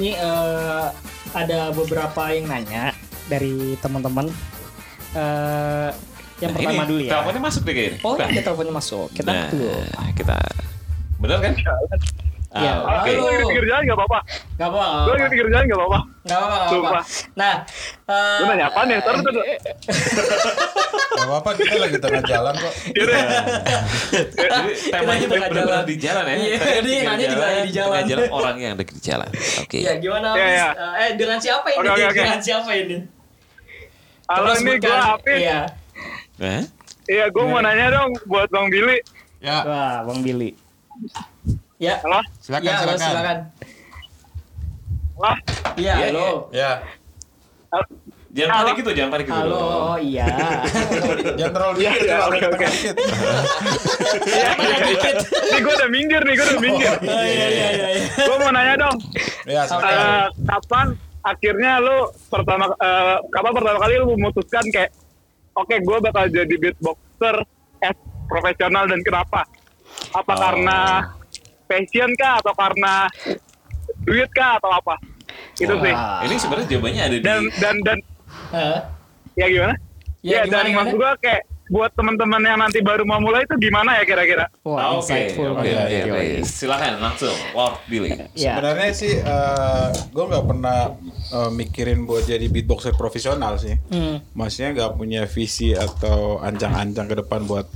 Nih Ya. eh, ada beberapa yang nanya dari teman-teman. Eh, yang Nah, pertama ini, dulu ya. Teleponnya masuk deh kayaknya. Oh, Nah. ini ada teleponnya masuk. Kita Nah, angkat dulu. Kita benar kan? Ah, Iya. Oke. Halo. Gue lagi di pinggir jalan nggak apa-apa. Gak Gue lagi di apa-apa. pinggir jalan nggak apa-apa. Gak apa-apa. Sumpah. Nah, eh, Lu nanya apaan ya? Ntar, ntar, ntar. Gak apa-apa kita lagi tengah jalan kok. eh, Yaudah. Jadi temanya tengah benar-benar jalan. di jalan ya. Iya, Tadi jadi pinggir nanya juga jalan, lagi di jalan. tengah jalan orang yang ada di jalan. Oke. Ya gimana? Iya, Mis? iya. Eh dengan siapa ini? Oke, oke, oke. Dengan siapa ini? Halo Coba ini gue sebutkan. Apit. Iya. Hah? Iya gue mau nanya dong buat Bang Billy. Ya, Wah, Bang Billy. Ya. Halo? silakan ya, lo silakan. silakan. Wah, Iya, Iya, halo. Ya, Jangan Halo? panik gitu, jangan panik gitu. Halo, dong. iya. jangan Ya. terlalu Iya, dikit, iya, terlalu oke, ke oke. tengah dikit. ini gue udah minggir nih, gue udah minggir. Oh, iya, iya, iya. Gue mau nanya dong, Ya, eh, silakan. kapan akhirnya lu pertama eh, kapan pertama kali lu memutuskan kayak oke gue bakal jadi beatboxer as profesional dan kenapa? Apa Oh. karena passion kah atau karena duit kah atau apa? Itu sih. Wah. Ini sebenarnya jawabannya ada di Dan dan dan Hah? ya gimana? Ya, Ya, gimana, dan gimana? maksud gue kayak buat teman-teman yang nanti baru mau mulai itu gimana ya kira-kira? Oh, Wah, Ah, oke, insightful. oke, banget. oke, Iya, oke. Silakan langsung. Wow, Billy. Iya. Sebenarnya sih gue nggak pernah eh, mikirin buat jadi beatboxer profesional sih. Hmm. Maksudnya nggak punya visi atau ancang-ancang ke depan buat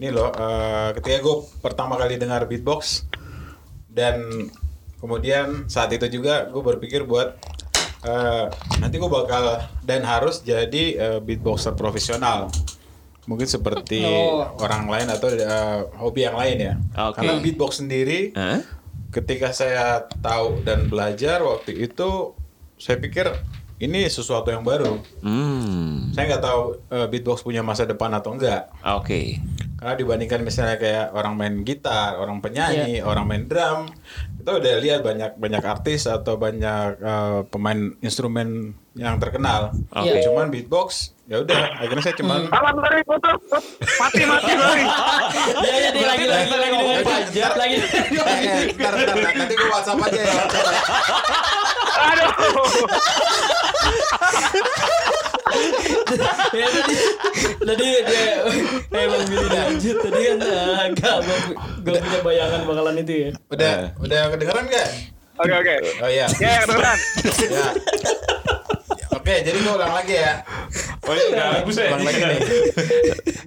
ini loh. eh, ketika gue pertama kali dengar beatbox dan kemudian saat itu juga gue berpikir buat eh, nanti gue bakal dan harus jadi eh, beatboxer profesional. Mungkin seperti Oh. orang lain atau eh, hobi yang lain ya. Oke. Karena beatbox sendiri Hah? ketika saya tahu dan belajar waktu itu saya pikir ini sesuatu yang baru Hmm. saya nggak tahu eh, beatbox punya masa depan atau enggak Oke. karena dibandingkan misalnya kayak orang main gitar orang penyanyi orang main drum kita udah lihat banyak banyak artis atau banyak eh, pemain instrumen yang terkenal Ya Oke. Iya. cuman beatbox ya udah akhirnya saya cuman Apa sorry putus, putus. mati mati sorry. Iya, iya, dia lagi lagi lagi ngomong lagi pajar. lagi. Eh, eh, ntar, ntar, ntar. nanti gue whatsapp aja ya Aduh. Ya, tadi tadi dia eh Bang Billy lanjut tadi kan eh, agak gua- gua punya bayangan bakalan itu ya. udah Eh. udah kedengeran nggak Oke oke. oh iya Ya kedengeran. ya. Oke, jadi gue ulang lagi ya. Oh, iya, udah bagus ya. Ulang lagi nih.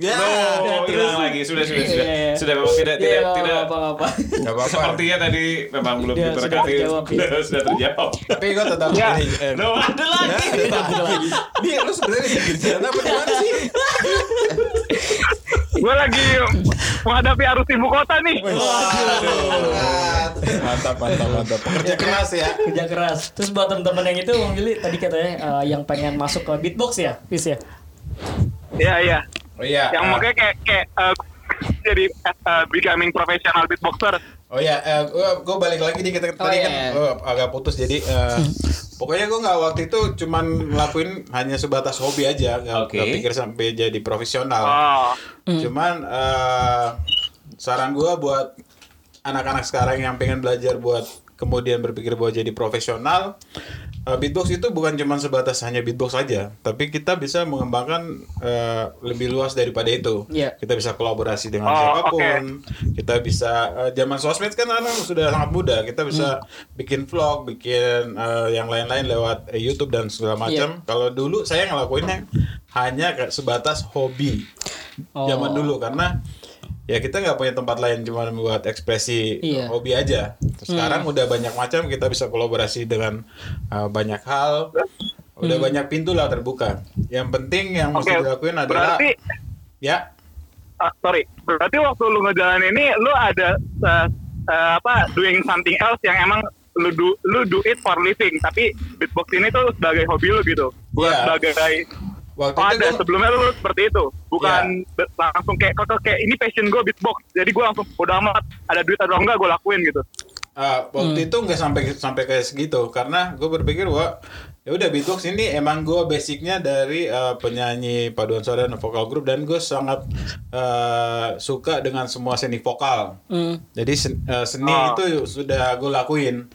Ya. Oh, terus. hilang lagi. Sudah, sudah, Iya, sudah. iya, iya. Sudah memang tidak Iya, tidak nggak tidak apa-apa. Gak apa-apa. Sepertinya tadi memang belum Sudah, diberkati. sudah terjawab, ya. Sudah, sudah terjawab. Tapi gue tetap Ya. Eh, eh, Loh, ada lagi. ya, tetap lagi. Nih, lu sebenarnya di jalan apa di mana sih? Gue lagi menghadapi arus ibu kota nih. Mantap, mantap, mantap. Pekerja keras ya. kerja keras. Terus buat teman-teman yang itu Bang Billy tadi katanya eh, yang pengen masuk ke beatbox ya, Fis ya. Iya iya. Oh iya. Yang eh, makanya kayak kayak eh, jadi eh, becoming professional beatboxer. Oh iya, gue balik lagi nih kita Oh, iya, tadi kan iya. gua agak putus jadi eh, pokoknya gue nggak waktu itu cuman ngelakuin hanya sebatas hobi aja, nggak Oke. nggak pikir sampai jadi profesional. Oh. Cuman eh, saran gua buat anak-anak sekarang yang pengen belajar buat kemudian berpikir bahwa jadi profesional, eh, beatbox itu bukan cuma sebatas hanya beatbox saja, tapi kita bisa mengembangkan eh, lebih luas daripada itu. Iya. Kita bisa kolaborasi dengan Oh, siapapun, kita bisa eh, zaman sosmed kan sekarang sudah sangat mudah, kita bisa bikin vlog, bikin eh, yang lain-lain lewat eh, YouTube dan segala macam. Kalau dulu saya ngelakuinnya hanya kayak sebatas hobi Oh. zaman dulu karena ya kita nggak punya tempat lain cuma buat ekspresi Iya. Hmm. hobi aja. Terus Sekarang udah banyak macam kita bisa kolaborasi dengan uh, banyak hal. Udah Hmm. banyak pintu lah terbuka. Yang penting yang mesti Oke. dilakuin adalah Berarti ya eh, sorry. Berarti waktu lu ngejalanin ini lu ada eh, eh, apa doing something else yang emang lu do, lu do it for living tapi beatbox ini tuh sebagai hobi lu gitu. Bukan Iya. sebagai Oh, waktu itu kan, ada gua- Iya. sebelumnya lu seperti itu bukan be- langsung kayak kok kayak ini passion gue beatbox jadi gue langsung bodo amat ada duit atau enggak gue lakuin gitu Ah, waktu Hmm. itu nggak sampai sampai kayak segitu karena gue berpikir bahwa ya udah beatbox ini emang gue basicnya dari eh, penyanyi paduan suara dan vokal grup dan gue sangat eh, suka Hmm, dengan semua seni vokal. Jadi sen- eh, seni Oh. itu sudah gue lakuin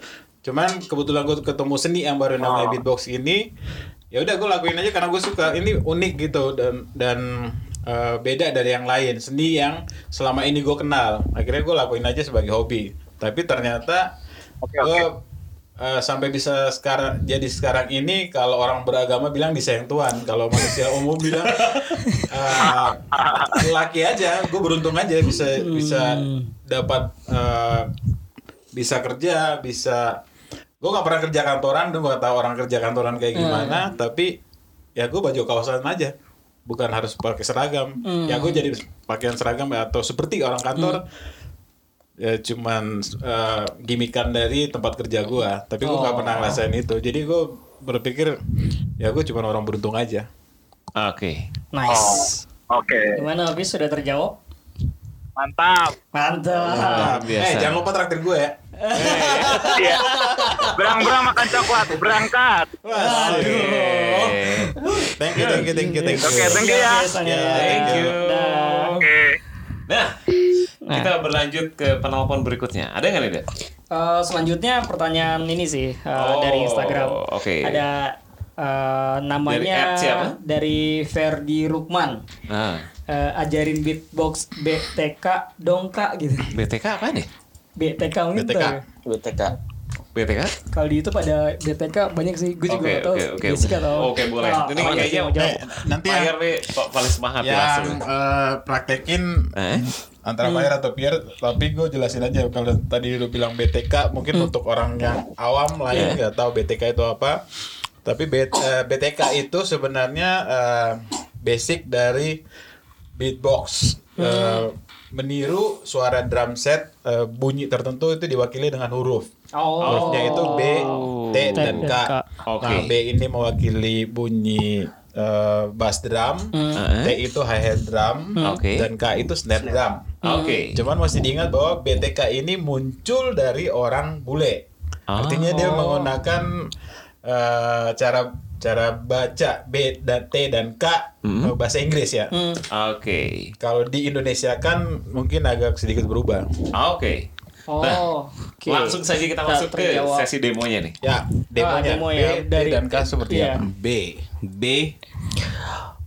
Cuman kebetulan gue ketemu seni yang baru namanya Ah. beatbox ini. Ya udah gue lakuin aja karena gue suka. Ini unik gitu dan dan eh, beda dari yang lain. Seni yang selama ini gue kenal. Akhirnya gue lakuin aja sebagai hobi. Tapi ternyata Oke, gue eh, sampai bisa sekarang jadi sekarang ini kalau orang beragama bilang disayang Tuhan kalau manusia umum bilang eh, laki aja gue beruntung aja bisa bisa dapat eh, bisa kerja bisa gue nggak pernah kerja kantoran gue nggak tahu orang kerja kantoran kayak Hmm. gimana tapi ya gue baju kaosan aja bukan harus pakai seragam Hmm. ya gue jadi pakaian seragam atau seperti orang kantor ya cuman eh, gimikan dari tempat kerja gua tapi gua nggak Oh. pernah ngerasain itu jadi gua berpikir ya gua cuma orang beruntung aja Oke. Nice. Oke, Gimana habis sudah terjawab? mantap. Ah, Mantap. Luar biasa. eh jangan lupa traktir gua ya Iya. Berang-berang makan coklat, berangkat. Waduh. thank you thank you thank you thank you Oke, thank you ya. Luar biasa, Ya, ya. thank you. Dah. Oke. Nah, kita berlanjut ke penelpon berikutnya. Ada nggak nih, Dek? Eh, selanjutnya pertanyaan ini sih eh, Oh, dari Instagram. oke. Ada eh, namanya Dari at siapa? dari Ferdi Rukman. Nah, Eh, ajarin beatbox BTK dong kak gitu. BTK apa nih? BTK gitu. BTK. BTK. BTK? Kalau di YouTube ada BTK banyak sih. Gue juga Oke, nggak tahu. oke, oke. Jessica tahu. Oke, boleh. Ah, Ini apa kayaknya- sih yang mau jawab? Eh, nanti yang, Fire nih, Pak paling semangat ya yang langsung. eh, praktekin Eh? antara Fire atau Pierre tapi gue jelasin aja kalau tadi lu bilang BTK mungkin untuk orang yang awam lain nggak tahu BTK itu apa tapi B- eh, BTK itu sebenarnya eh, basic dari beatbox Eh, meniru suara drum set eh, bunyi tertentu itu diwakili dengan huruf Oh. hurufnya itu B Oh. T dan T K dan K. Oke. nah B ini mewakili bunyi eh, bass drum Hmm. T itu hi hat drum Oke. dan K itu snare drum Oke. Cuman mesti diingat bahwa BTK ini muncul dari orang bule. Ah. Artinya dia menggunakan eh, cara cara baca B dan T dan K Hmm. eh, bahasa Inggris ya. Hmm. Oke. Kalau di Indonesia kan mungkin agak sedikit berubah. Oke. Oh. Nah, oke. Langsung saja kita Tak masuk ke terjawab. sesi demonya nih. Ya, demonya demo B, ya, T dari- dan K seperti iya. Ya, apa? B B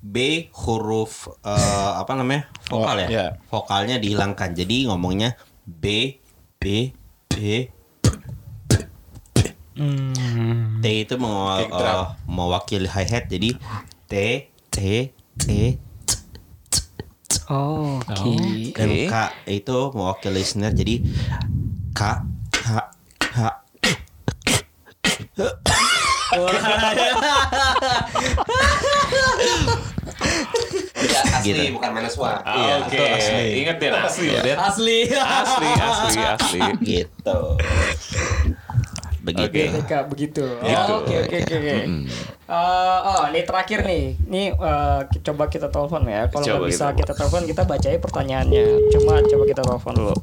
B huruf eh, apa namanya Oh, vokal ya iya. vokalnya dihilangkan jadi ngomongnya B B B Hmm. T itu mewa- Kick drum. eh, mewakili hi hat jadi T T T Oh, Oke. dan K itu mewakili snare jadi K K K Iya, asli bukan minus one Ah, Oke. Ingat ya, Iya, asli loh, Dad. Asli. Asli, asli, asli. gitu begitu Oke. BTK begitu. Gitu. Oh, Oke oke oke. oke. Mm-mm. Eh, oh, ini terakhir nih. Ini eh, ki- coba kita telepon ya. Kalau Coba nggak bisa kita kita telepon, kita bacain pertanyaannya. Cuma coba kita telepon dulu.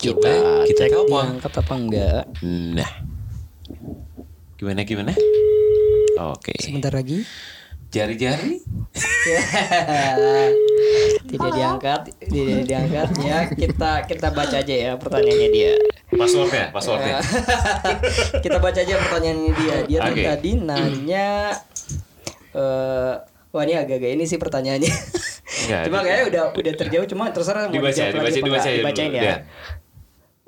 Coba kita Cek telepon. diangkat apa enggak? Nah. Gimana gimana? Oke. Bentar lagi. Jari-jari? Tidak diangkat, tidak diangkat. Ya kita kita baca aja ya pertanyaannya dia. Passwordnya, passwordnya. Eh, kita baca aja pertanyaannya dia. Dia tuh Oke. tadi nanya eh wah ini agak-agak ini sih pertanyaannya. Enggak, cuma di- kayaknya udah udah terjawab cuma terserah mau Dibaca, dijawab dibaca, lagi apa enggak. dibaca ya Dibacain dulu, ya. ya.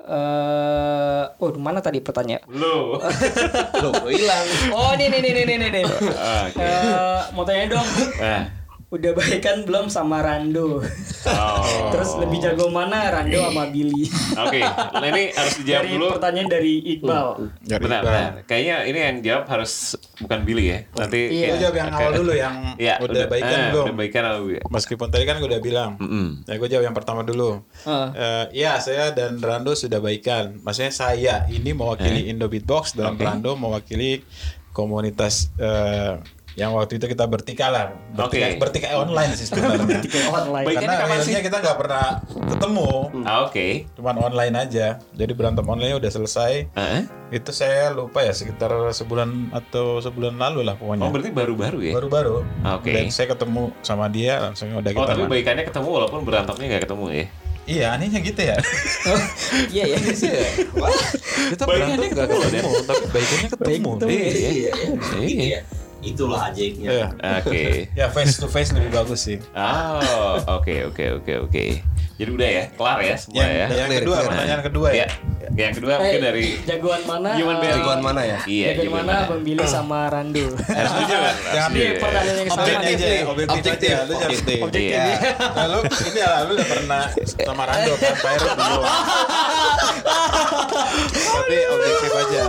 Eh, oh mana tadi pertanyaan? Lu. Oh, ini nih nih nih nih nih. nih. Ah, Oke. Eh, mau tanya dong, Nah. udah baikan belum sama Rando? Oh. Terus lebih jago mana Rando sama Billy? Oke, nah ini harus dijawab Dari dulu. pertanyaan dari Iqbal. Dari Benar, Iqbal. benar. Kayaknya ini yang jawab harus bukan Billy ya. Nanti Iya. kayak- Lu jawab yang oke. awal dulu, yang Iya, udah baikan eh, belum? Udah baikan atau belum? Meskipun tadi kan gue udah bilang, Mm-mm. ya gue jawab yang pertama dulu. Hmm. Heeh. Eh, ya saya dan Rando sudah baikan. Maksudnya saya ini mewakili Indo Beatbox Eh. dan Oke. Rando mewakili komunitas eh, Yang waktu itu kita bertikai lah, bertikai, Oke. bertikai online sih sebenarnya. Oh, online. Baiknya Karena ini kapan sih? akhirnya kita nggak pernah ketemu, Ah, Oke. Eh? cuman online aja. Jadi berantem online udah selesai. Heeh. Itu saya lupa ya sekitar sebulan atau sebulan lalu lah Oh pokoknya. berarti baru-baru ya? Baru-baru. Oke. Dan saya ketemu sama dia langsung Oh udah kita. tapi baikannya ketemu walaupun berantemnya nggak ketemu ya? Iya anehnya gitu ya. Iya ya. kita Baikannya berantem nggak ketemu, ketemu, tapi baikannya ketemu. Baik ketemu. Iya. Iya. Itulah ajaibnya. Iya. Oke. Ya face to face lebih bagus sih. Oh oke oke oke oke. Jadi udah ya kelar ya semua Yang, ya. yang Clear, kedua, clear. pertanyaan kedua ya. Ya. Yang kedua mungkin dari Eh, jagoan mana? Human eh, Berry. Jagoan mana ya? iya Nah, jagoan gimana? mana? Bang Billy sama Randu. Harus jujur. Jangan Iya, pertanyaan yang sama objektif aja nih. ya, objektif, Objektif. aja. Lu jangan objektif. Iya. Lalu ini ya, lu udah pernah sama Rando kan Pak dulu. Tapi objektif aja.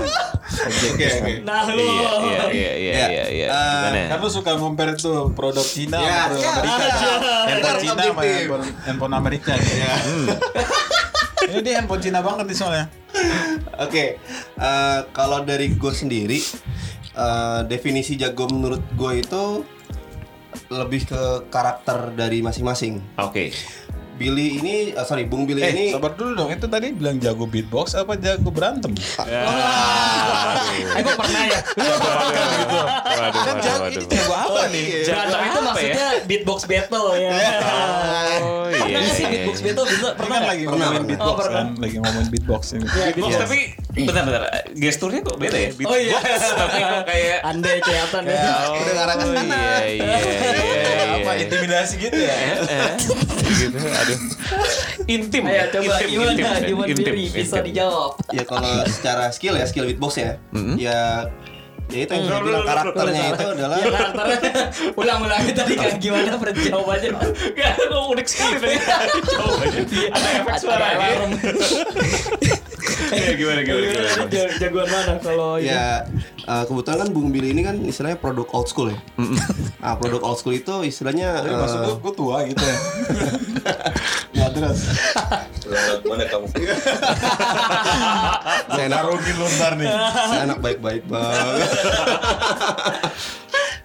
Oke, oke. Nah, lu. Iya iya iya iya iya iya. Eh, Gimana? Kan lu suka compare tuh produk Cina sama Ya, produk ya, Amerika. ya. Handphone Objektif. Cina sama handphone, handphone Amerika. Ya. Ini dia handphone Cina banget nih soalnya. Oke, eh, kalau dari gue sendiri eh, definisi jago menurut gue itu lebih ke karakter dari masing-masing. Oke. Billy ini, eh, sorry, Bung Billy Eh, ini. sabar dulu dong. Itu tadi bilang jago beatbox apa jago berantem? Ya. Aku pernah ya. Waduh Kan waduh jago ini waduh. iya. ya? jago apa nih? Berantem itu maksudnya beatbox battle ya. Oh iya. Pernah nggak sih iya, beatbox iya. battle Bisa- Ini pernah kan nggak? lagi Pernah, ngomongin pernah. beatbox Oh, pernah. kan, lagi ngomongin beatbox ini. Iya, Beatbox beatbox. tapi bentar-bentar gesturnya kok beda ya? Oh iya. Beatbox, tapi kok kayak Andai kelihatan ya. Oh, Udah ngarah ke sana. Iya iya iya. Apa iya. intimidasi gitu ya? gitu aduh intim Ayo ya, coba intim, intim, gimana intim, Human intim, Berry bisa intim. dijawab. ya kalau secara skill ya skill beatbox ya, Mm-hmm. ya ya itu yang saya bilang karakternya itu adalah Ya, karakternya ulang-ulang tadi kan gimana perjawabannya? Iya. Gak, kok unik sekali tadi Coba aja. Ada efek suara Ada ya alarm. Iya, Gimana, gimana, Gimana gimana nih, jago- jagoan mana kalau Iya. ini? ya eh, kebetulan kan Bung Billy ini kan istilahnya produk old school ya. Nah, produk old school itu istilahnya Jadi eh, maksud gue, gue tua gitu ya. ya terus mana kamu? saya enak Taruhin lu ntar nih. saya anak baik-baik banget.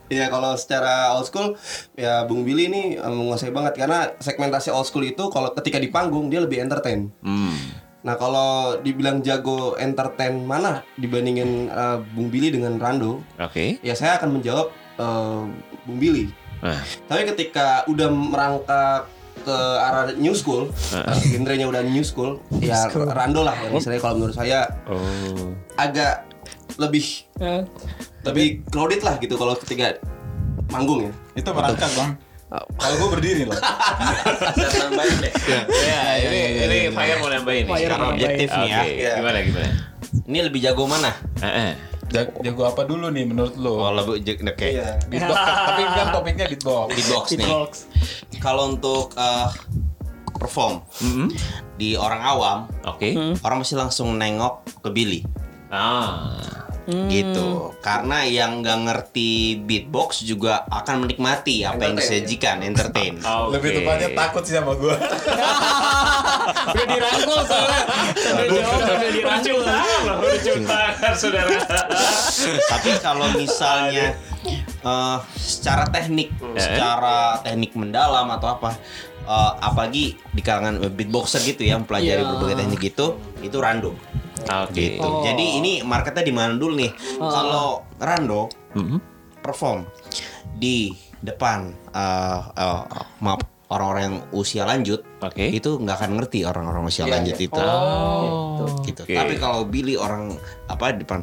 Iya kalau secara old school ya Bung Billy ini eh, menguasai banget karena segmentasi old school itu kalau ketika di panggung dia lebih entertain. Hmm, Nah kalau dibilang jago entertain mana dibandingin eh, Bung Billy dengan Rando, Oke ya saya akan menjawab eh, Bung Billy. Ah. Tapi ketika udah merangkak ke arah new school, genrenya udah new school, ya Rando lah yang misalnya kalau menurut saya Oh agak lebih Eh, lebih crowded lah gitu kalau ketiga manggung ya. Itu merangkak bang. Kalau gue berdiri loh. Saya tambahin deh. Ya, Nah, ini, ini Fire mau nambahin nih Fire mau Karena nambahin. objektif nih ya Iya. Gimana, gimana Ini lebih jago mana? Ah, ah. Ja- Jago apa dulu nih menurut lu? Oh, lebih jago. Oke. Iya. Beatbox. Tapi kan topiknya beatbox. Di box nih. beatbox. Kalau untuk eh, perform di orang awam, Oke orang mesti langsung nengok ke Billy Ah gitu. Karena yang nggak ngerti beatbox juga akan menikmati apa ya. yang disajikan, entertain. oke. Lebih tepatnya takut sih sama gue. Udah dirangkul soalnya. Udah jawab, udah Udah cium dirangkul. tangan loh, udah cium tangan, kan, saudara Tapi kalau misalnya eh, secara teknik, Hmm. secara teknik mendalam atau apa, eh, apalagi di kalangan beatboxer gitu ya, mempelajari Iya. berbagai teknik gitu, itu random. Oke Gitu. Oh. Jadi ini marketnya di mana dulu nih? Kalau rando perform di depan eh, eh, maaf orang-orang yang usia lanjut, Oke. Iya, Oh. itu nggak akan ngerti orang-orang usia lanjut itu gitu. Oke. Tapi kalau Billy orang apa di depan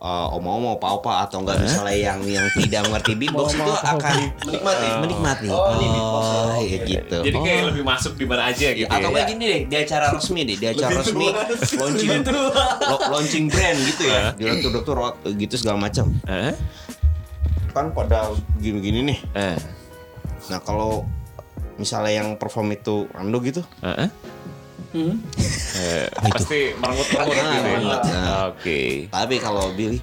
uh, omo-omo, opa-opa atau enggak misalnya yang yang tidak mengerti beatbox itu akan menikmati, menikmati. Oh, iya gitu. Iya, Jadi kayak lebih masuk di mana aja gitu atau ya. kayak gini deh, di acara resmi deh, di acara resmi launching lo- launching brand gitu ya. Direktur-direktur gitu segala macam. Eh? Kan pada gini-gini nih. Eh? Nah, kalau misalnya yang perform itu Ando gitu, Eh? Hmm. Eh, pasti Ah, merengut-merengut gitu. ya. merengut, ya. Oke. tapi kalau Billy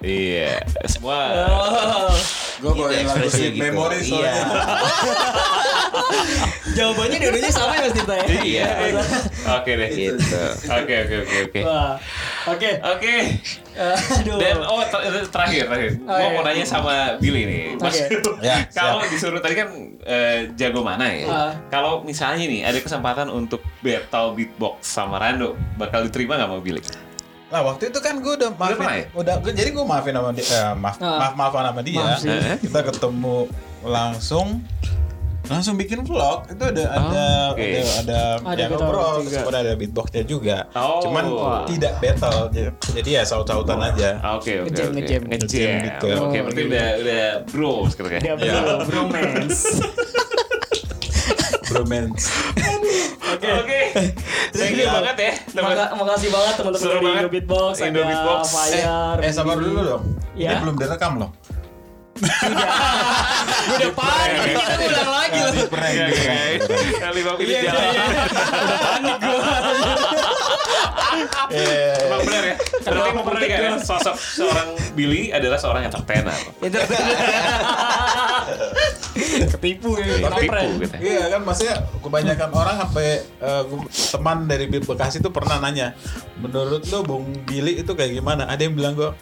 Iya, semua Oh, Gue itu bawain lagu ekspresi Sweet gitu. Memory Iya. soalnya. Jawabannya dua-duanya sama ya Mas Tirta ya? Iya. Masa- Oke deh. gitu. Oke oke oke oke. Wah. Oke. Oke. Eh, Aduh. Dan oh ter- terakhir terakhir. Oh, Gua iya. mau nanya sama Billy nih. Mas, Oke. Ya, kalau disuruh tadi kan eh, jago mana ya? Ah. Kalau misalnya nih ada kesempatan untuk battle beatbox sama Rando, bakal diterima nggak sama Billy? Nah waktu itu kan gue udah maafin, pernah ya? udah gua- jadi gue maafin sama dia, eh, maaf Ah. maaf maafan sama dia. Maaf sih. Eh? Kita ketemu langsung langsung bikin vlog itu ada ada, Ah, oke. ada ada Ada yang battle ngobrol juga. terus kemudian ada beatboxnya juga Oh. cuman Wah. tidak battle j- jadi ya saut-sautan aja Ah, Oke oke Ngejam, oke. ngejam. Ngejam gitu. Oke berarti udah udah bro sekarang ya. Dia belum bromance. bromance Oke. Oke. Thank you banget ya. teman- Maka, makasih banget teman-teman Seru dari banget. Indo Beatbox, Indo ada Beatbox. Fire, eh sabar Budi. dulu dong ini Ya. belum direkam loh Udah panik kita ulang lagi loh. Di prank, Iya, di iya, prank. iya. Kali bapak ini jalan. Eh, Emang benar ya. Berarti memperhatikan ya, sosok seorang Billy adalah seorang entertainer. Ketipu ya, Tipu kampret. gitu. ya. Iya kan maksudnya kebanyakan orang sampai eh, gua- teman dari Bib Bekasi tuh pernah nanya, menurut lo Bung Billy itu kayak gimana? Ada yang bilang gua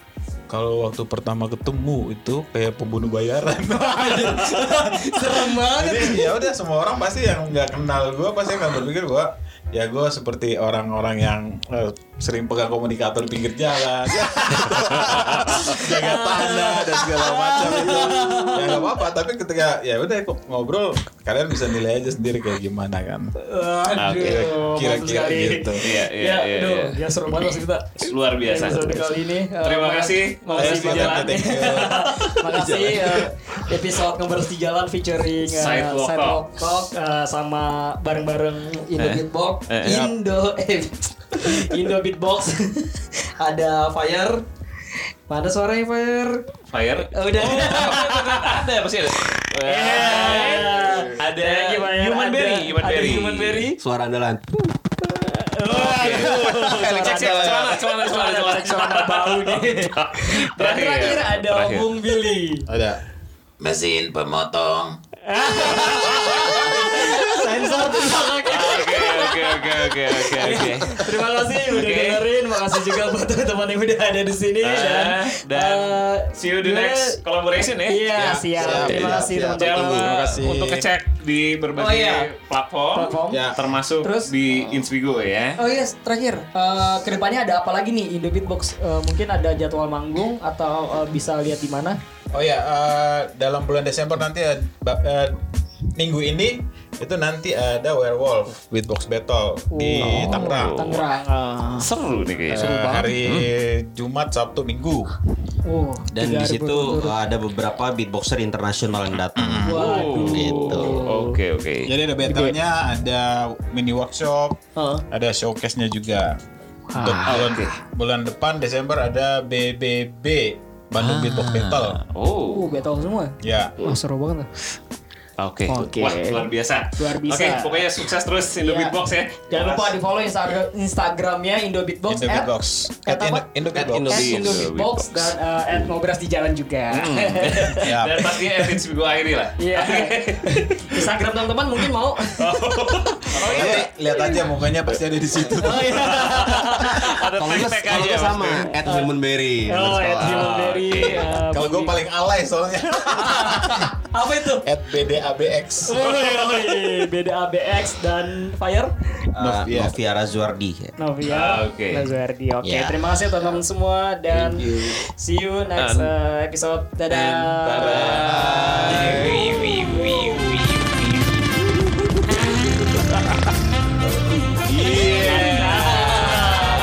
kalau waktu pertama ketemu itu kayak pembunuh bayaran. Serem banget. Jadi ya udah semua orang pasti yang nggak kenal gua pasti akan berpikir gua ya gua seperti orang-orang yang eh, sering pegang komunikator pinggir jalan jaga tanah dan segala macam itu ya nggak apa-apa tapi ketika ya udah kok ngobrol kalian bisa nilai aja sendiri kayak gimana kan Aduh, Oke. kira kira-kira gitu Iya Ya, iya iya. aduh, iya. ya seru banget maksud kita. Luar biasa. Episode kali ini. eh, Terima mak- kasih. Makasih Makasih banget. jalan. Thank you. Makasih eh, episode ngebers di jalan featuring eh, Sidewalk Sidewalk Talk, eh, sama bareng-bareng Indo Eh. Beatbox, Eh, eh. Indo eh, Indo Beatbox. Ada Fire. Mana suaranya Fire? Fire. Eh, Udah. Ada pasti ada. Eh, Ada Thank you, Fire. human Ada- berry, human ada berry. Human Berry. Suara andalan. Cek cek cek, celana celana celana celana Celana bau nih. Dan terakhir ada Terakhir. Bung Billy. ada mesin pemotong Sensor tuh makanya. Oke oke oke oke oke oke. Terima kasih udah Oke. dengerin, makasih juga buat teman-teman yang udah ada di sini Ah, dan dan eh, See you the gue- next collaboration ya. Iya, siap. siap, Terima siap, kasih siap. teman-teman. Jangan lupa Terima kasih. untuk ngecek di berbagai Oh, iya. platform, Platform. Ya. termasuk Terus? di Inspigo ya. Oh yes, terakhir eh, kedepannya ada apa lagi nih Indo Beatbox? Eh, mungkin ada jadwal manggung atau eh, bisa lihat di mana? Oh ya, eh, dalam bulan Desember nanti eh, ba- eh, minggu ini itu nanti ada Werewolf Beatbox Battle di Wow. Tangerang. Oh, Tangerang. eh, Seru nih Eh, kayaknya. hari Hmm. Jumat, Sabtu, Minggu. oh, Dan di tiga hari situ berturut-turut. uh, ada beberapa beatboxer internasional yang datang. Waduh. gitu. Oh. Oke oke. Jadi ada battle-nya, ada mini workshop, Heeh. ada showcase-nya juga. Ah, Untuk bulan, bulan depan Desember ada BBB Ah. Bandung Beatbox Battle. Uh, Oh, battle semua. Ya. Wah, seru banget. lah. oke. Oke. Wah, luar biasa. Luar biasa. Oke, pokoknya sukses terus Indo Iya. Beatbox ya. Jangan lupa di follow Instagram Instagramnya Indo Beatbox. Indo at- Beatbox. at At apa? Indo- Indo At Beatbox. Indo- at Di Indo Indo Beatbox Beatbox. dan eh, at ngobras di jalan juga. Ya. Dan pastinya at Inspigo Airi lah. Iya. Instagram teman-teman mungkin mau. Nanti lihat aja mukanya pasti ada di situ. iya. Oh iya. Ada Kalau nggak tag-tag kalau aja. nggak sama, maksudnya. at Human Berry. Oh, at Human Berry. eh, Kalau gue Budi. paling alay soalnya. apa itu? At BDABX. BDABX dan Fire. Uh, Novia. Novia Razuardi. Novia, Ah, oke. Nazwardi. Oke, Ya. terima kasih teman-teman semua dan see you next eh, episode. Dadah.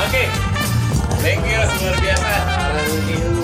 Oke. Thank you luar biasa.